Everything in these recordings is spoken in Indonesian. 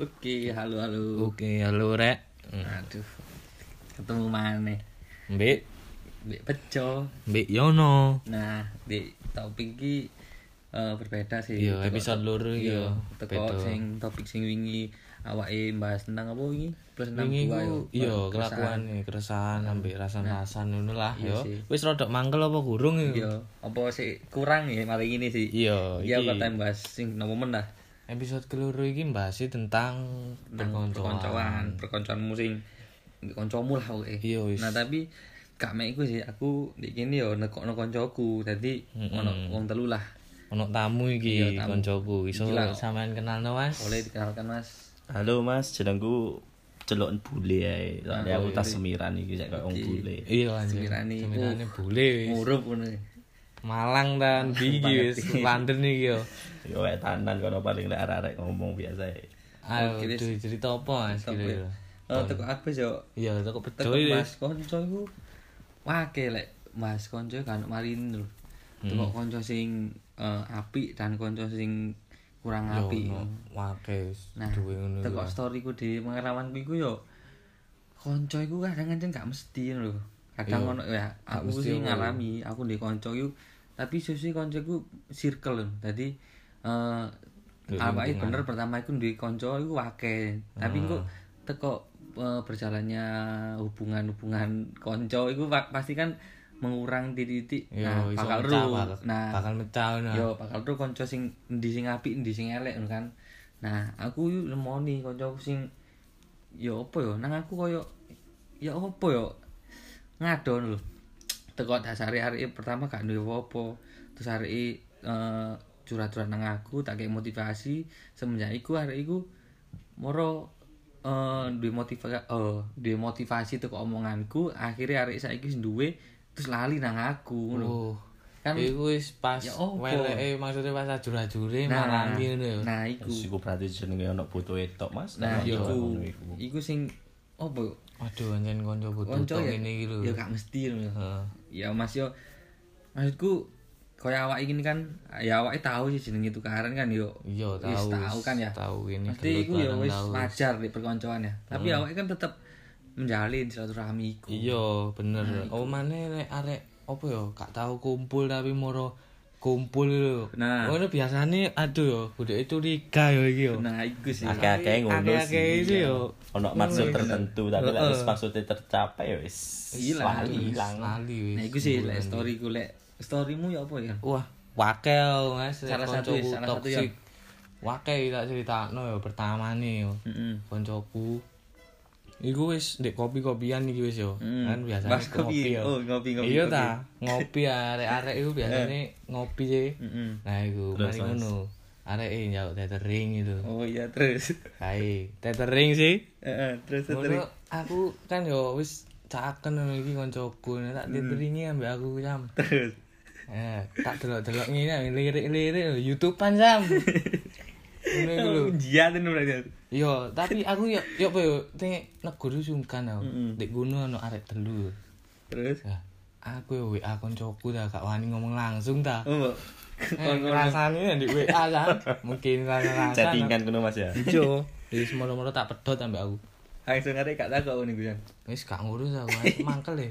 Oke, halo halo. Oke, halo rek. Aduh. Ketemu mana? Mbek, Mbak Peco. Mbek Yono. Nah, di topik iki eh, berbeda sih. Iya, episode loro iki Iya, ya. teko Beda. sing topik sing wingi awake bahas tentang apa wingi? Plus enam Wingi dua ku ya. iya kelakuan ya keresahan ambek rasan-rasan ngono lah Iya yo. sih. Wis rodok mangkel apa kurung yo. Iya, apa sih kurang ya mari ini sih. Iya, Iya, iki. apa time bahas sing no momen lah. Episode keloro iki mbahas tentang Tentang perkoncoan. perkoncoan, perkoncoanmu sing mbek koncomu lah pokoke. Iya, wis. Nah, tapi gak mek iku sih aku di kene yo nekokno koncoku. Dadi ono wong telu lah. Ono tamu iki Iya, tamu. koncoku iso Gila. sampean kenalno Mas. Boleh dikenalkan Mas. Halo Mas, jenengku celokan bule ae. Soale Ah, aku bule. tas semiran iki sak koyo wong Oke. bule. Iya anjir. Semirane iku. Semirane boleh wis. Murup ngono. Eh, Malang ta ndi iki wis London iki yo. Yo wae Ya, tanan kono paling lek arek-arek ngomong biasa ae. Aduh, Oke, wis. cerita apa Mas Tapi kira-kira? oh teko aku wis yo Iya, teko bejo teko iki. Mas Konco iku wake lek Mas Konco kan marin lho. Teko konco sing eh, apik dan konco sing kurang Yo, apik. ono wake wis Nah, duwe ngono. ya. teko lah. story ku di pengalamanku iku yo konco iku kadang ancen gak mesti lho. Kadang Iya. ono ya Gak aku mesti sih apa. ngalami, aku di konco iku tapi susi konco iku circle lho. Dadi eh Duwe awake Iya, lingkungan. Ah. bener pertama iku duwe konco iku akeh. Tapi kok teko eh, berjalannya hubungan-hubungan konco iku pa- pasti kan mengurang titik-titik. Yo, Nah, Iya, iso bakal mecah, ru. bakal- Nah, bakal mecah nah. Yo bakal tuh konco sing endi sing apik endi sing elek ngono kan. Nah, aku yu nemoni konco aku sing yo apa yo nang aku koyo yo apa yo ngadon lho. Teko dasare arek pertama gak duwe apa-apa. Terus arek eh curhat-curhat nang aku tak kei motivasi semenjak iku arek iku moro eh duwe motivasi eh duwe motivasi teko omonganku akhirnya arek saiki wis duwe terus lali nang aku ngono. Oh. Kan- iku wis pas Ya opo. weleke maksudnya pas ajur-ajure Nah, malah ngene yo. Nah, iku. Terus iku berarti jenenge ono butuhe tok Mas. Nah, Nek iku. ngono iku. Iku sing opo? Waduh anjen kanca butuh Konco ya. ngene iki lho. Ya gak mesti lho. Heeh. Ya Mas yo maksudku kaya awak ini kan ya awake tahu sih jenenge tukaran kan yo. Iya, Wis tahu, tahu kan ya. tahu ini Mesti gelut iku ya barang wis tahu. wajar di perkoncoan ya. Tapi awake kan tetep menjalin silaturahmi iku. Iya, bener. Oh maneh lek arek opo yo gak tau kumpul tapi moro kumpul lho. Nah. Oh ini biasane aduh yo budeke curiga yo iki yo. Nah, iku sih. Akeh-akeh ngono Akeh-akeh sih yo. Ono maksud Iya. tertentu, tapi lek wis maksude tercapai ya wis Hilang. lali ilang. Lali wis. Nah, iku sih lek story ku lek storymu ya apa ya? Wah, wakel Mas. Salah Koncoku satu ya, salah satu ya. toksik. Wakel tak critakno ya pertama nih yo. Heeh. Koncoku. Iku wis ndek kopi-kopian iki wis yo. Mm. Kan biasane Bahas kopi. Oh, ngopi, ngopi, Eh. Iya kopi. ta, ngopi arek-arek iku biasane ngopi sih. Heeh. Nah, iku mari ngono. Arek e njaluk tethering gitu. Oh iya terus. Kae, tethering sih. Heeh, terus terus. Ngono aku kan yo wis caken ngono iki koncoku Nah, tak tetheringi ambek aku jam. Terus. Eh, tak delok-delok ngene lirik-lirik lho, YouTube-an sam. Ngono iku lho. Jian ini berarti. Yo, tapi aku yo yo apa yo teng negoro sungkan aku. Ndek ngono ono arek telu. Terus. Lah, aku yo WA koncoku ta gak wani ngomong langsung ta. Oh, mbok. Eh, rasane ndek WA ta. Mungkin rasa-rasa. Chattingan kono Mas ya. Iya. Yo, wis moro-moro tak pedot ambek aku. Langsung arek gak takok ngene Gus. Wis gak ngurus aku, aku mangkel ya.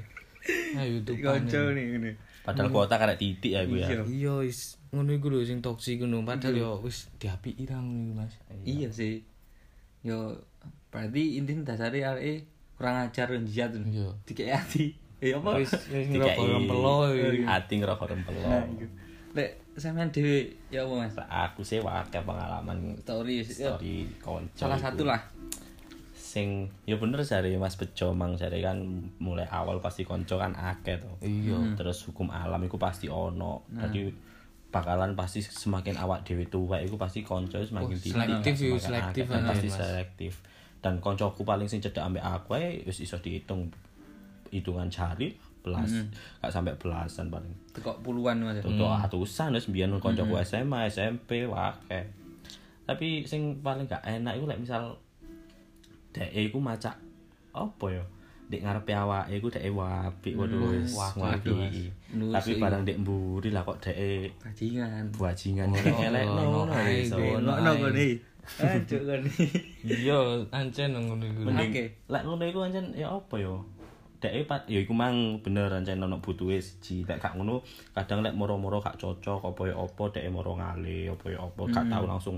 Nah, YouTube-an. e. Konco nih ngene. Padahal kuota karek titik ya iku ya. Iya. Iya, wis ngono iku lho sing toksik ngono. Padahal yo wis diapiki ra ngono iku, Mas. Iya sih. Yo berarti intin dasare arek kurang ajar dan jahat. Iya. Dikek ati. Ya apa? wis wis Dikai ngerokok rempelo iya. iki. Ati E. ngerokok rempelo. Nah, Lek sampean dhewe ya apa Mas? Aku sih wakil pengalaman Story sih. Ya, story konco. Salah iku. satu lah. sing ya bener sari Mas Bejo mang sari kan mulai awal pasti konco kan akeh to. Iya. Terus hukum alam iku pasti ono. Nah. Jadi bakalan pasti semakin awak dhewe tuwa iku pasti konco semakin Oh, titik, selektif sih, semakin selektif akeh, dan aja, pasti Mas. selektif. Dan koncoku paling sing cedak ambek aku ae wis iso dihitung hitungan jari belas Hmm. gak sampai belasan paling. Tekok puluhan Mas. Tutuk atusan wis Hmm. biyen koncoku SMA, SMP wake. Tapi sing paling gak enak iku lek misal dhek iku macak apa ya? dek ngarepe awake iku dek wapi waduh wis Hmm, waduh, wapi. Nusuk Tapi iya. barang dek mburi lah kok dek bajingan bajingan dek elek Oh, no, no no ae, iso. Dek. Delok no kene. Ancuk kene. Iya, ancen ngono iku. Mending Oke. lek ngono iku ancen ya apa ya? Dek e pat ya iku mang bener ancen ono butuhe siji. Lek gak ngono kadang lek moro-moro gak cocok apa ya apa dek e moro ngale apa ya apa gak tau langsung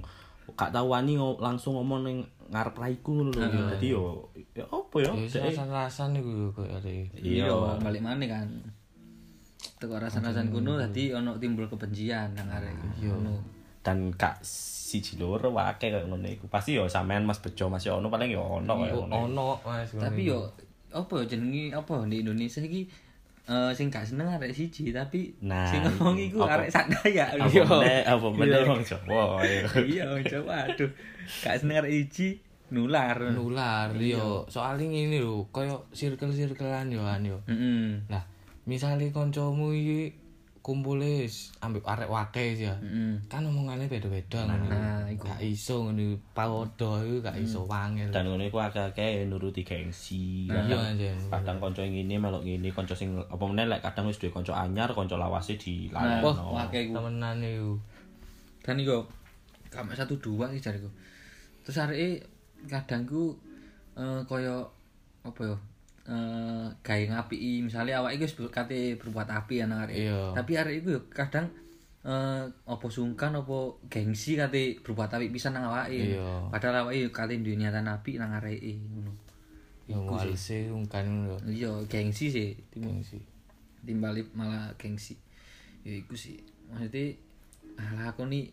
gak tau wani ngo- langsung ngomong ning ngarep raiku ngono lho. Dadi yo ya apa ya? Ya wis Dek e. rasan-rasan iku yo koyo arek. Iya. Iya, balik maneh kan. Teko rasan-rasan kuno dadi ono timbul kebencian nang arek iki. Ngono. dan gak siji loro wae kaya ngono iku. Pasti yo sampean Mas Bejo masih ono paling yo ono kaya ngono. Ono Mas. ngono Tapi iku. yo apa yo jenenge apa di Indonesia iki eh sing gak seneng arek siji tapi Nah, sing ngomong iku apa- arek sak daya. Apa meneh apa meneh wong Jawa. ya. Iya, wong Jawa aduh. Gak seneng arek siji nular. nular yo. Soale ngene lho, koyo circle-circlean yo an yo. Heeh. Nah, misale kancamu iki kumpule s- ambek arek wakil ya. Heeh. Kan omongane beda-beda ngono. nah, Mm. iku. Gak iso ngono padha iku gak iso wangel. dan ngono iku akeh-akeh nuruti gengsi Iya, kadang- anjen. kadang kanca ngene melok ngene kanca sing apa meneh lek kadang wis duwe kanca anyar kanca Nah, lawase dilalekno wah, akeh iku. Temenan iku. Dan iku kamak satu dua iki jariku. Terus areke kadang ku eh kaya apa ya? Eh gawe ngapiki misale awake iku wis ber- kate berbuat api anak arek. Iya. Tapi arek iku yo kadang eh apa sungkan apa gengsi kate berbuat api pisan nang awake. Iya. Padahal awake yo kate duwe niatan api nang areke ngono. Yo walse kan ngono. Iya, gengsi sih timbul Gengsi. timbali malah gengsi ya iku sih maksudnya alah aku nih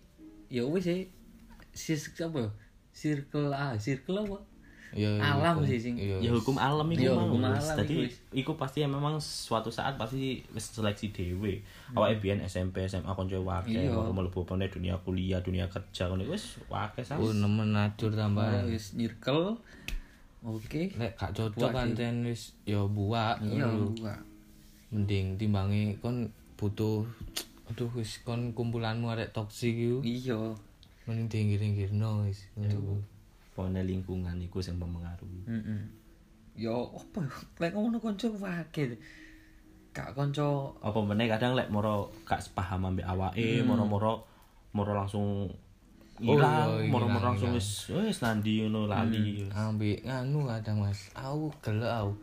ya wis sih sis apa ya? circle ah circle apa Yo, yo, alam hukum. sih sing Yo. ya hukum alam Eh, Iya, iku mau hukum alam iku dadi wis. iku pasti ya memang suatu saat pasti wis seleksi dhewe awake biyen SMP SMA kanca wakil Hmm. Iya. baru mlebu apa meneh dunia kuliah dunia kerja ngono iku wis wakil sah Oh, nemen ajur Malah tambahan. wis circle oke Lek gak Buak, cocok pancen wis yo buak. Nah, iya ngono. gua mending timbangi kon butuh aduh wis kon kumpulanmu arek toksik iku iya mending diinggir-inggirno wis pone lingkungan iku sing mempengaruhi heeh ya apa ya lek ngono kanca wakil gak kanca apa meneh kadang lek moro gak sepaham ambek Hmm. awake moro-moro moro langsung Oh, iya, ilang ilang, moro-moro langsung wis wis nandi ngono lali Hmm. ambek nganu kadang Mas aku gelek aku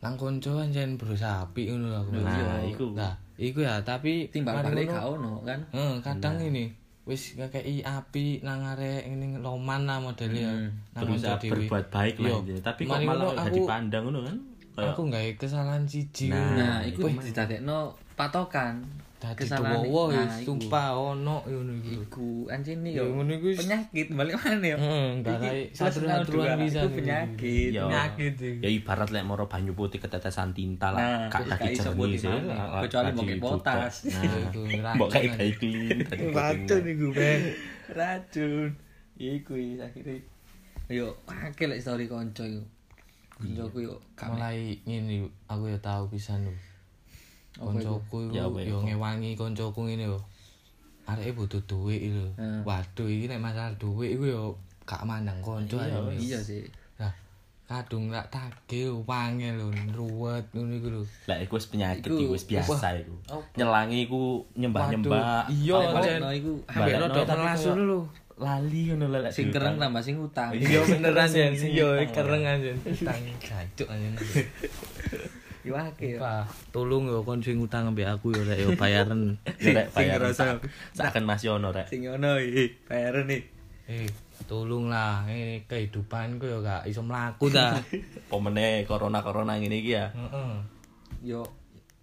nang konco anjen berusaha api ngono lho aku Mas. Nah, iku. nah iku ya tapi timbal mari balik ngono, gak ono kan eh, kadang ini wis ngekei api nang arek ini loman lah modelnya Nah, nang Hmm, berusaha konco dhewe. ya, berbuat baik Yo, lah anjir. tapi kok mari malah ngono gak aku- dipandang ngono kan kayak aku nggak kesalahan siji Nah, ngono. nah iku Wih, didadekno patokan dadi kesalahan tuwa nah wis iku sumpah ono ngono iku iku anjing nih Ya, yo ngono iku wis- penyakit balik mana ya Heeh, gak Hmm, kayak satuan-satuan bisa itu penyakit Yo. penyakit iki. ya ibarat lek moro banyu putih ketetesan nah tinta lah kak terus gak kaki iso jernih putih sih maneh. kecuali pakai botas Nah, Iku mbok racun, Nah, kayak gitu. kan. baik lin iku ben racun iku iki akhire yo akeh lek story kanca iku kancaku yo gak mulai ngene aku ya tahu pisan lho. Koncoku Ya, iku apa yo ngewangi koncoku ngene lho. Areke butuh dhuwit lho. Hmm. Waduh iki nek masalah dhuwit iku yo gak mandang konco Iya, ae. iya sih Nah, kadung lak tage wangi lho, ruwet ngono iku lho. lah iku wis penyakit Iku- iku wis biasa iku Apa? nyelangi iku nyembah-nyembah Waduh, iya, Paling- paling Jen. no iku Ambek Balekno rodok tapi kelas kayak- ngono lho. lali ngono lek lek sing diutang. kereng tambah sing utang Iya beneran Jen, Sing iya utang. kereng Jen. Utang gajuk Jen. yo akeh yo. Pak, tolong yo kon sing utang ambek aku yo rek yo bayaran. Ya, Rek, sing bayar. ngerasa Seakan masih ono rek sing ono iki bayar nih Eh, tolonglah, ini kehidupanku ya gak iso mlaku Nah. ta. pemene corona-corona ngene iki ya Heeh. yo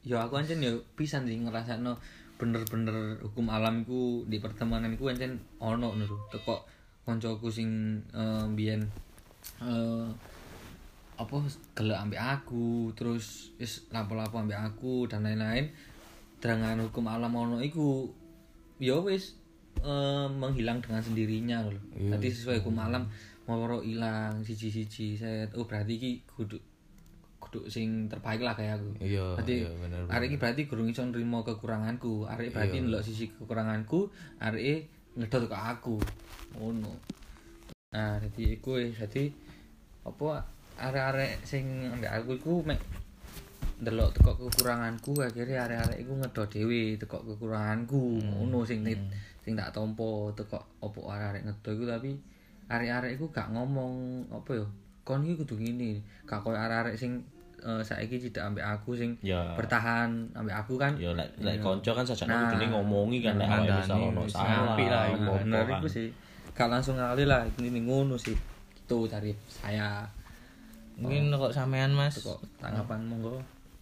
yo aku ancen yo pisan sih ngerasakno bener-bener hukum alamku di pertemananku ancen ono ngono lho. teko koncoku sing eh, mbiyen eh, apa gelek ambek aku terus wis lapo-lapo ambek aku dan lain-lain dengan hukum alam ono iku yo wis eh, menghilang dengan sendirinya lho. Tadi sesuai hukum alam moro ilang siji-siji set. Oh berarti iki kudu kudu sing terbaik lah kayak aku. Iya, Berarti iya, bener, arek iki berarti gurung iso nrimo kekuranganku. Arek berarti ndelok sisi kekuranganku, arek ngedot ke aku. Ngono. Nah, jadi iku wis. jadi apa arek-arek sing ambek aku iku mek ndelok tekok kekuranganku akhirnya arek-arek iku ngedo dhewe tekok kekuranganku Hmm, ngono sing nit- sing tak tompo tekok opo arek-arek ngedo iku tapi arek-arek iku gak ngomong apa ya kon iki kudu ngene gak koyo arek-arek sing eh, saiki tidak ambek aku sing Ya. bertahan ambek aku kan Ya lek lek kanca kan sajane Nah. kudune ngomongi kan lek awake wis Ngandani, ono wis salah. apik lah, Ah, Nah, apa-apa bener kan. iku sih gak langsung ngali lah ini ini ngono sih itu dari saya Mungkin kok sampean Mas. Oh. kok tanggapan monggo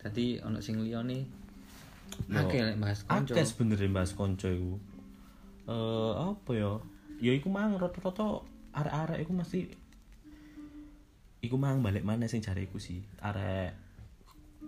jadi ono sing liya nih akeh lek bahas konco Akeh sebenarnya bahas konco iku. Eh apa ya? Ya iku mang rata-rata arek-arek iku mesti iku mang balik mana sing jare iku sih. Arek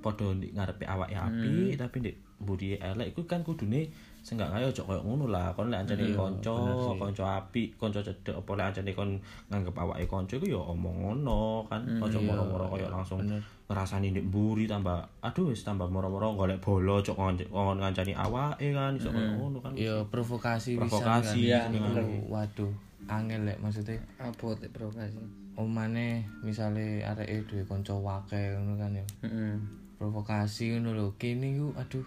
padha ndek ngarepe awake apik tapi ndek mburi elek iku kan kudune sing gak kaya aja koyo ngono lah. Kon lek ancane kanca, kanca apik, kanca cedhek apa lek ancane kon nganggep awake kanca iku ya omong ngono kan. Aja moro-moro koyo langsung ngrasani ndek mburi tambah aduh wis tambah moro-moro golek bola cok ngan- ngon ngancani awake kan iso koyo ngono kan. Ya provokasi bisa Provokasi, iya, kan. bener. Waduh, angel lek maksudnya abot lek provokasi omane misale areke duwe kanca wakil ngono kan ya. heeh Provokasi ngono lho. Kene iku aduh.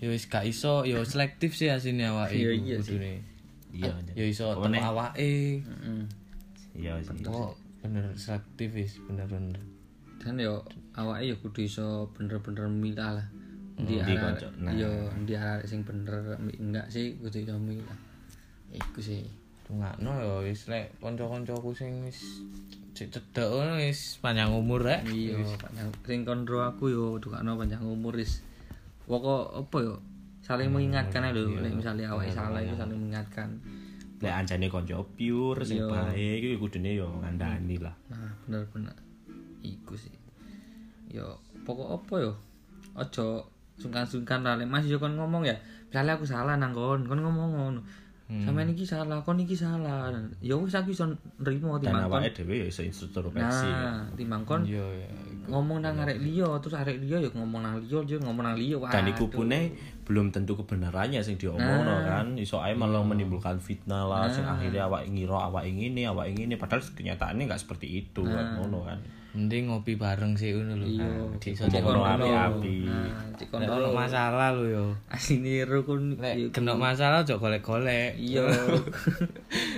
Ya wis gak iso, ya selektif sih asine awake Iya, iku iya sih. kudune. Iya. Ya iso Apa temu meneh? awake. heeh Iya sih. Kok bener selektif wis bener-bener. dan yo awake yo kudu iso bener-bener milah lah di Hmm, Ndi arah konco. Nah. yo di arah sing bener mi- enggak sih kudu iso milah iku sih Dungakno ya wis lek kanca-kancaku sing wis cek cedek ngono wis panjang umur rek. iya panjang sing kondro aku yo dukakno panjang umur is pokok apa yo saling mengingatkan ae lho lek misale awake salah iku saling mengingatkan Lek ancane kanca pure sing Iya. baik iku kudune ya ngandani lah. Nah, bener-bener iku sih. Yo, pokok apa yo? Ojo sungkan-sungkan lah Lek Mas yo kon ngomong ya. Misalnya aku salah nang kon, kon ngomong ngono. Hmm. Sampeyan iki salah, kon iki salah. Ya wis aku iso nrimo Dan timbang kon. awake dhewe ya iso introspeksi. Nah, timbang kon Iya ya. ngomong nang arek liya, terus arek liya yo ngomong nang liya, yo ngomong nang liya. Dan Waduh. iku pune belum tentu kebenarannya sing diomongno kan. Iso ae malah menimbulkan fitnah lah sing akhirnya awake ngira awake ngene, awake ngene padahal kenyataannya enggak seperti itu kan ngono kan. Mending ngopi bareng sih ngono lho. Iya. Di iso kono. Ngomongno api-api. Nah, cek kon Lek ono masalah lho yo. asline ro kon Lek genok masalah ojo golek-golek. Iya.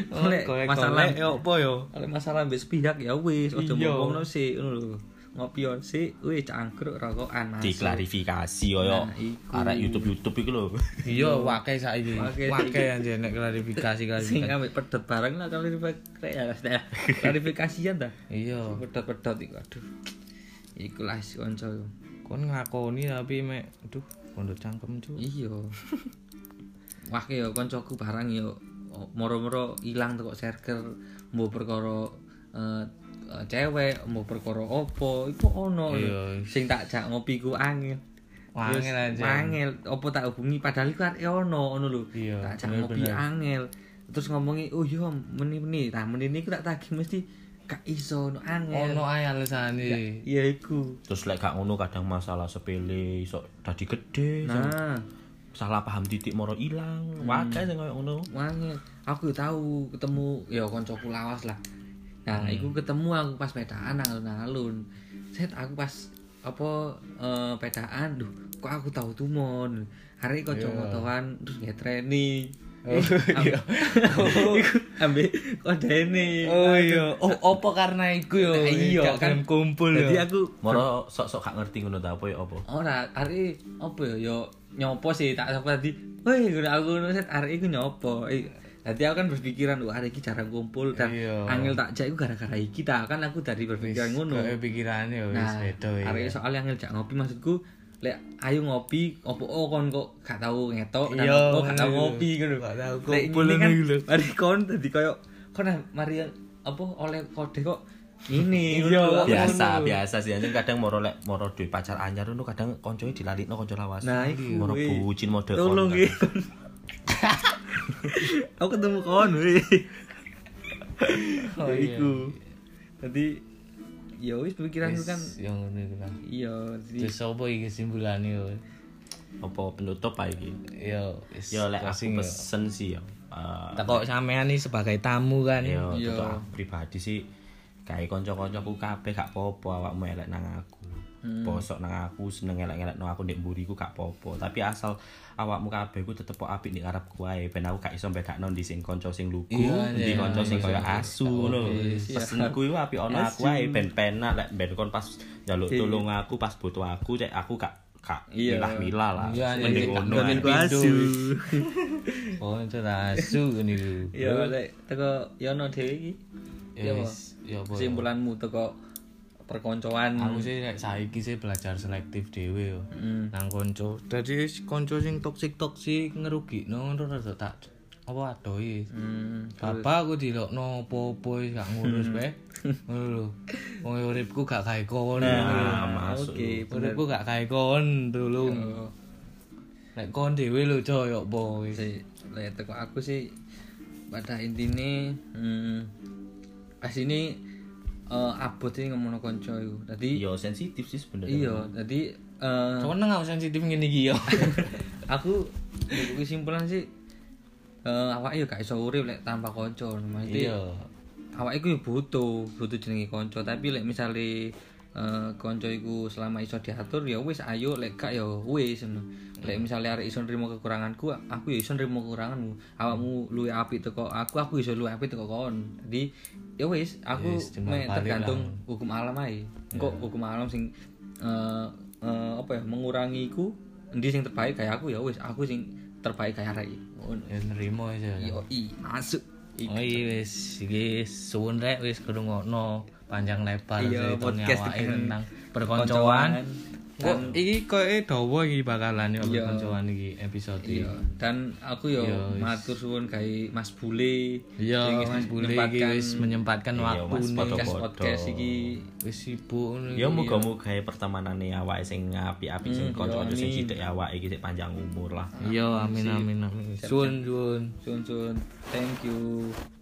Oh, Lek golek-golek masalah yo opo yo? Kalau masalah mbek sepihak ya wis, aja Iya. ngomongno sik ngono lho. Ngopi on sik, wis cangkruk rokokan masuk. Diklarifikasi koyo Nah, iku. arek YouTube-YouTube iku lho. Iya, wakai saiki. Wakai. Wakai anjir nek klarifikasi Sing klarifikasi. ambek pedot bareng lah kalau klarifikasi ya Mas, ya. klarifikasian ta. Iya. Pedot-pedot iku aduh. Iku lah si konco. iku. Kon nglakoni tapi mek aduh, kondo cangkem cu. Iya. Wah ki yo koncoku barang yo o- moro-moro ilang tekok circle mbok perkara eh, eh, cewek, mbok perkara opo, iku ono lho. Iya. sing tak jak ngopi ku angin. Wangel anjir. Angel, opo tak hubungi padahal iku arek ono ono lho. Iya, Tak ajak bener, ngopi bener. angel. Terus ngomongi, "Oh iya, meni-meni." Nah, meni-meni iku tak tagih mesti gak iso ono angel. Ono ae alasane. Ya iku. Terus lek gak ngono kadang masalah sepele iso dadi gede, sing Nah, Hmm. salah paham titik moro ilang. Wakai sing koyo ngono. angel. Aku yo tahu ketemu ya kancaku lawas lah. Nah, iku ketemu aku pas pedaan nang alun-alun. Set aku pas apa eh, pedaan, duh, kok aku tahu tumon. Hari kok yeah. motoran terus nyetreni. Iya. Oh, iya. ambil kodene. Oh iya, oh opo karena iku yo. Nah, Eh, iya, Gak kan. gelem kumpul yo. Jadi aku Moro sok-sok gak ngerti ngono ta apa ya apa. ora hari Oh, apa ya yo nyopo sih tak sapa tadi. Woi, gue aku nulis hari iku nyopo. Eh, Tadi aku kan berpikiran, wah hari ini jarang kumpul dan Iya. angel tak jak iku gara-gara iki ta. Kan aku dari berpikiran ngono. Kayak pikirane yo wis Nah, beda arek ya. soalnya ngejak ngopi maksudku lek ayo ngopi opo oh kon kok gak tau ngetok dan Iya, kok gak tau ngono ngopi iku. ngono. Gak tau Lek kumpul ini kan ngono iku lho. mari kon dadi koyo kon nah, mari apa oleh kode kok ini Iya, ngono lho. biasa biasa sih anjing kadang moro lek moro duwe pacar anyar ngono kadang koncone dilalikno kanca lawas Nah, iku, moro weh. bucin model tolong kon. ya aku ketemu kon weh Oh, Ya, iya. iku tadi ya wis pikiranku kan Wis, yo ngono iku lah. iya jadi Terus opo iki kesimpulane yo? apa penutup ae iki Yo, wis. ya lek closing yo. aku pesen sih ya eh, Tak kok sampean nih sebagai tamu kan. ya Iya. untuk aku pribadi sih kae kanca-kancaku kabeh gak popo awakmu elek nang aku. Hmm. Bosok nang aku seneng elek-elek nang aku ndek mburiku gak popo. Tapi asal awakmu kabeh ku tetep kok apik ndek karepku ae ben aku gak iso bedakno ndi sing kanca sing lugu, Iya, ndi iya, kanca sing kaya asu ngono. Oke, Pesenku iku apik ono aku ae ben penak lek ben kon pas njaluk tolong aku pas butuh aku cek aku gak gak Iya. milah-milah lah. Iya, iya, Mending iya, ngono gak ae. Pindu. Konco ta asu niku. Ya lek teko Yono dhewe iki. Ya Ya apa? wis, ya apa. Kesimpulanmu teko perkoncoan. Aku sih nek saiki sih belajar selektif dhewe yo. Hmm. Nang konco. Dadi wis konco sing toksik-toksik ngerugikno ngono rada tak apa adohi. Hmm. Bapak aku dilokno apa-apa wis gak ngurus bae. Ngono lho. Wong uripku gak kae kon. Nah, masuk. Oke, bener. Uripku gak kae kon, tolong. Oh, Nek kon dhewe lho coy yo apa wis. sih, lek teko aku sih pada intine hmm, pas ini eh, abot ini ngomong konco iku. Dadi Yo sensitif sih sebenarnya. iya, dadi eh, Cuman nang sensitif ngene iki yo. aku aku kesimpulan sih eh awake yo gak iso urip lek tanpa kanca maksudnya awake iku yo butuh butuh jenenge kanca tapi lek misale eh kanca iku selama iso diatur ya wis ayo lek gak ya wis ngono lek misale arek iso nrimo kekuranganku aku ya iso nrimo kekuranganmu awakmu luwih apik teko aku aku iso luwih apik teko kon jadi ya wis aku Yes, me- timbang balik tergantung hukum alam ae kok hukum alam sing eh, eh, apa ya mengurangi ku endi sing terbaik kayak aku ya wis aku sing terbaik kayak arek iki. ngono Ya nrimo aja. yo i masuk Oh iya wis iki suwun rek wis ngrungokno panjang lebar Iya, ceritane podcast awake dengan tentang perkoncoan. Perkoncoan. Kok iki koe dawa iki bakalan yo Iya. perkoncoan iki episode. Iya, dan aku yo Iya, wis. matur suwun gawe Mas Bule. Iya, Mas Bule iki wis menyempatkan waktu Iya, Mas Bodo. nih. podcast podcast iki Wis sibuk ngono. Ya moga-moga ya pertemanane awake sing apik-apik sing kanca-kanca sing amin. cithik awake iki sik panjang umur lah. Iya, amin amin amin. Suwun suwun. suwun-suwun. Thank you.